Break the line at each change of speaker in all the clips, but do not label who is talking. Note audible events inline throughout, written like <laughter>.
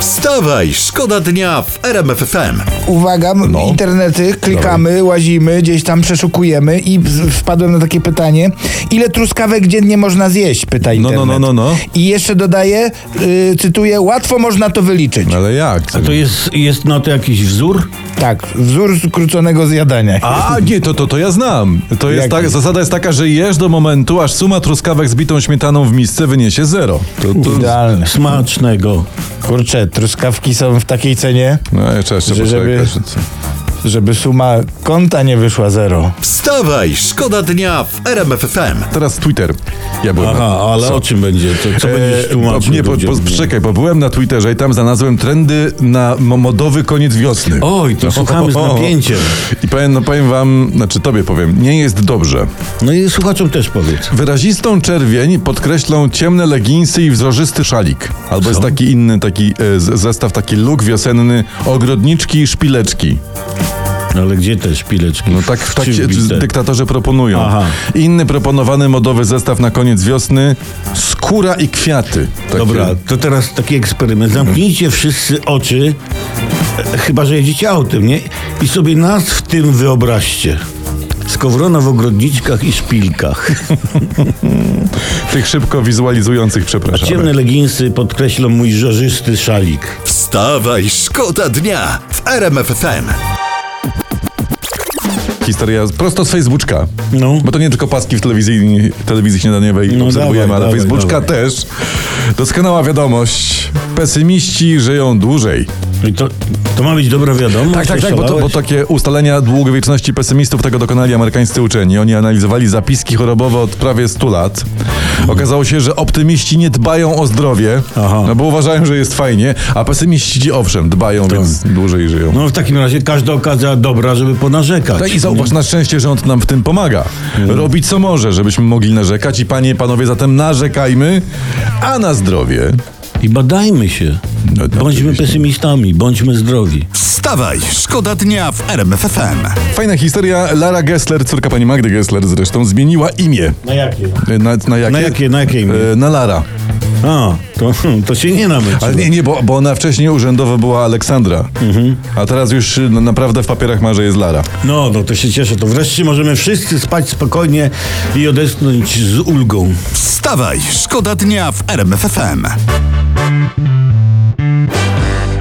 Wstawaj, szkoda dnia w RMF FM.
Uwaga, m-
No.
internety, klikamy, łazimy, gdzieś tam przeszukujemy i z- wpadłem na takie pytanie. Ile truskawek dziennie można zjeść? Pyta
no,
internet.
no, no, no.
I jeszcze dodaję, y, cytuję, łatwo można to wyliczyć.
Ale jak?
To jest, jest na to jakiś wzór?
Tak, wzór skróconego zjadania.
A nie, to, to, to ja znam. To jest
Jak?
tak, zasada jest taka, że jesz do momentu, aż suma truskawek z bitą śmietaną w misce wyniesie zero. To, to...
Idealne.
Smacznego.
Kurczę, truskawki są w takiej cenie,
No jeszcze, jeszcze
Że- żeby-
poczekać.
żeby suma konta nie wyszła zero.
Wstawaj, szkoda dnia w RMF FM.
Teraz Twitter. Ja byłem. na-
Aha, ale o czym będzie? To, co będziesz
po,
tłumaczył?
E, nie, po, po,
ludziom?
czekaj, bo byłem na Twitterze i tam znalazłem trendy na mo- modowy koniec wiosny.
Oj,
<laughs>
to słuchamy z napięciem.
I powiem, no powiem wam, znaczy tobie powiem, nie jest dobrze.
No i słuchaczom też powiedz.
Wyrazistą czerwień podkreślą ciemne leginsy i wzorzysty szalik. Albo jest taki inny, taki e, z- zestaw, taki luk wiosenny, ogrodniczki i szpileczki.
No Ale gdzie te szpileczki?
No tak, tak się
Wbite.
dyktatorzy proponują.
Aha.
Inny proponowany modowy zestaw na koniec wiosny, skóra i kwiaty. Takie-
Dobra, to teraz taki eksperyment. Zamknijcie wszyscy oczy, e, chyba że jedziecie autem, nie? I sobie nas w tym wyobraźcie. Skowrona w ogrodniczkach i szpilkach.
Tych szybko wizualizujących, przepraszam.
Ciemne leginsy podkreślą mój żorzysty szalik.
Wstawaj, szkoda dnia w RMF FM.
Historia prosto z Facebooka.
No.
Bo to nie tylko paski w telewizji, telewizji śniadaniowej
No
obserwujemy,
dawaj,
ale
dawaj,
Facebooka
dawaj.
też. Doskonała wiadomość. Pesymiści żyją dłużej.
I to, to ma być dobra wiadomość?
Tak, tak, tak, bo, to, bo
Oszalałeś?
takie ustalenia długowieczności pesymistów tego dokonali amerykańscy uczeni. Oni analizowali zapiski chorobowe od prawie 100 lat. Okazało się, że optymiści nie dbają o zdrowie,
Aha.
no bo uważają, że jest fajnie, a pesymiści owszem, dbają, więc dłużej żyją.
Tak. No w takim razie każda okazja dobra, żeby ponarzekać.
Tak i zauważ, na szczęście rząd nam w tym pomaga.
Mm.
Robi co może, żebyśmy mogli narzekać i panie, panowie, zatem narzekajmy, a na zdrowie.
I badajmy się.
No, no,
bądźmy
oczywiście.
pesymistami, bądźmy zdrowi.
Wstawaj, szkoda dnia w RMF FM.
Fajna historia, Lara Gessler, córka pani Magdy Gessler zresztą, zmieniła imię.
Na jakie?
Na, na jakie?
Na jakie, na jakie imię?
E, Na Lara.
A, to, <laughs> to się nie namyciło.
Ale nie, nie, bo, bo ona wcześniej urzędowo była Aleksandra. A teraz już y, no, naprawdę w papierach ma, że jest Lara.
No, no to się cieszę. To wreszcie możemy wszyscy spać spokojnie i odetchnąć z ulgą.
Wstawaj, szkoda dnia w RMF FM.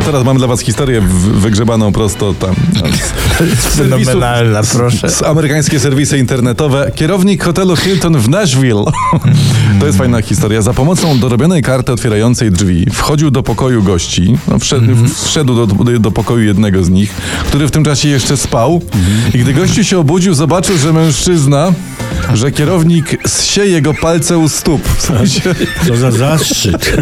Teraz mam dla was historię w, wygrzebaną prosto tam.
Fenomenalna, proszę.
Z amerykańskie serwisy internetowe. Kierownik hotelu Hilton w Nashville. <laughs> To jest fajna historia. Za pomocą dorobionej karty otwierającej drzwi wchodził do pokoju gości. No, wszedł wszedł do, do pokoju jednego z nich, który w tym czasie jeszcze spał. I gdy gościu się obudził, zobaczył, że mężczyzna, że kierownik zsie jego palce u stóp. W sensie,
To za
<laughs>
zaszczyt.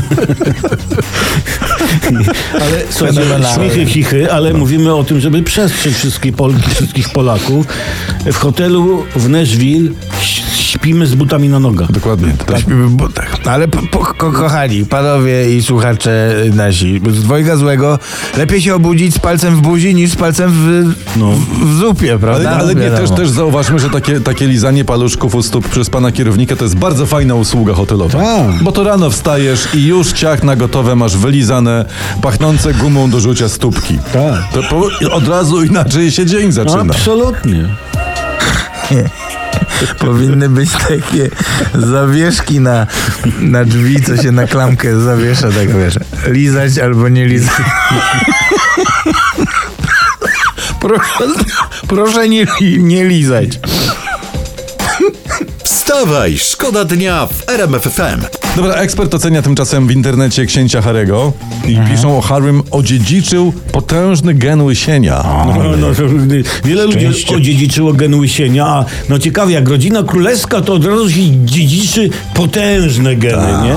ale słuchajcie,
Fenomenalne.
śmichy, chichy, ale
No.
mówimy o tym, żeby przestrzec wszystkie Polki, wszystkich Polaków. W hotelu w Nashville ś- śpimy z butami na nogach.
dokładnie. Tak.
W butach. Ale po, po, ko, kochani, panowie i słuchacze nasi, z dwojga złego lepiej się obudzić z palcem w buzi niż z palcem w, w, w zupie,
Ale,
prawda?
ale nie,
Wiadomo.
też, też zauważmy, że takie, takie lizanie paluszków u stóp przez pana kierownika to jest bardzo fajna usługa hotelowa.
Tak.
Bo to rano wstajesz i już ciach na gotowe masz wylizane, pachnące gumą do rzucia stópki.
Tak.
To po, od razu inaczej się dzień zaczyna.
Absolutnie.
Powinny być takie zawieszki na, na drzwi, co się na klamkę zawiesza, tak wiesz. Lizać albo nie lizać. Proszę, proszę nie, li- nie lizać.
Wstawaj, szkoda dnia w RMF FM.
Dobra, ekspert ocenia tymczasem w internecie księcia Harego i
Mhm.
piszą o Harrym odziedziczył potężny gen łysienia.
No, no, to wiele ludzi odziedziczyło gen łysienia, a no ciekawie, jak rodzina królewska, to od razu się dziedziczy potężne geny, nie?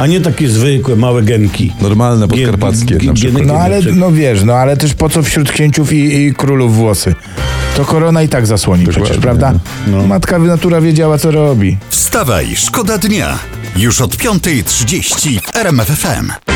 A nie takie zwykłe, małe genki.
Normalne podkarpackie
Gen-
na
gen-
przykład.
No ale no wiesz, no ale też po co wśród księciów i, i królów włosy? To korona i tak zasłoni przecież,
Dokładnie.
prawda? Matka natura wiedziała, co robi.
Wstawaj, szkoda dnia. Już od 5.30 w RMF FM.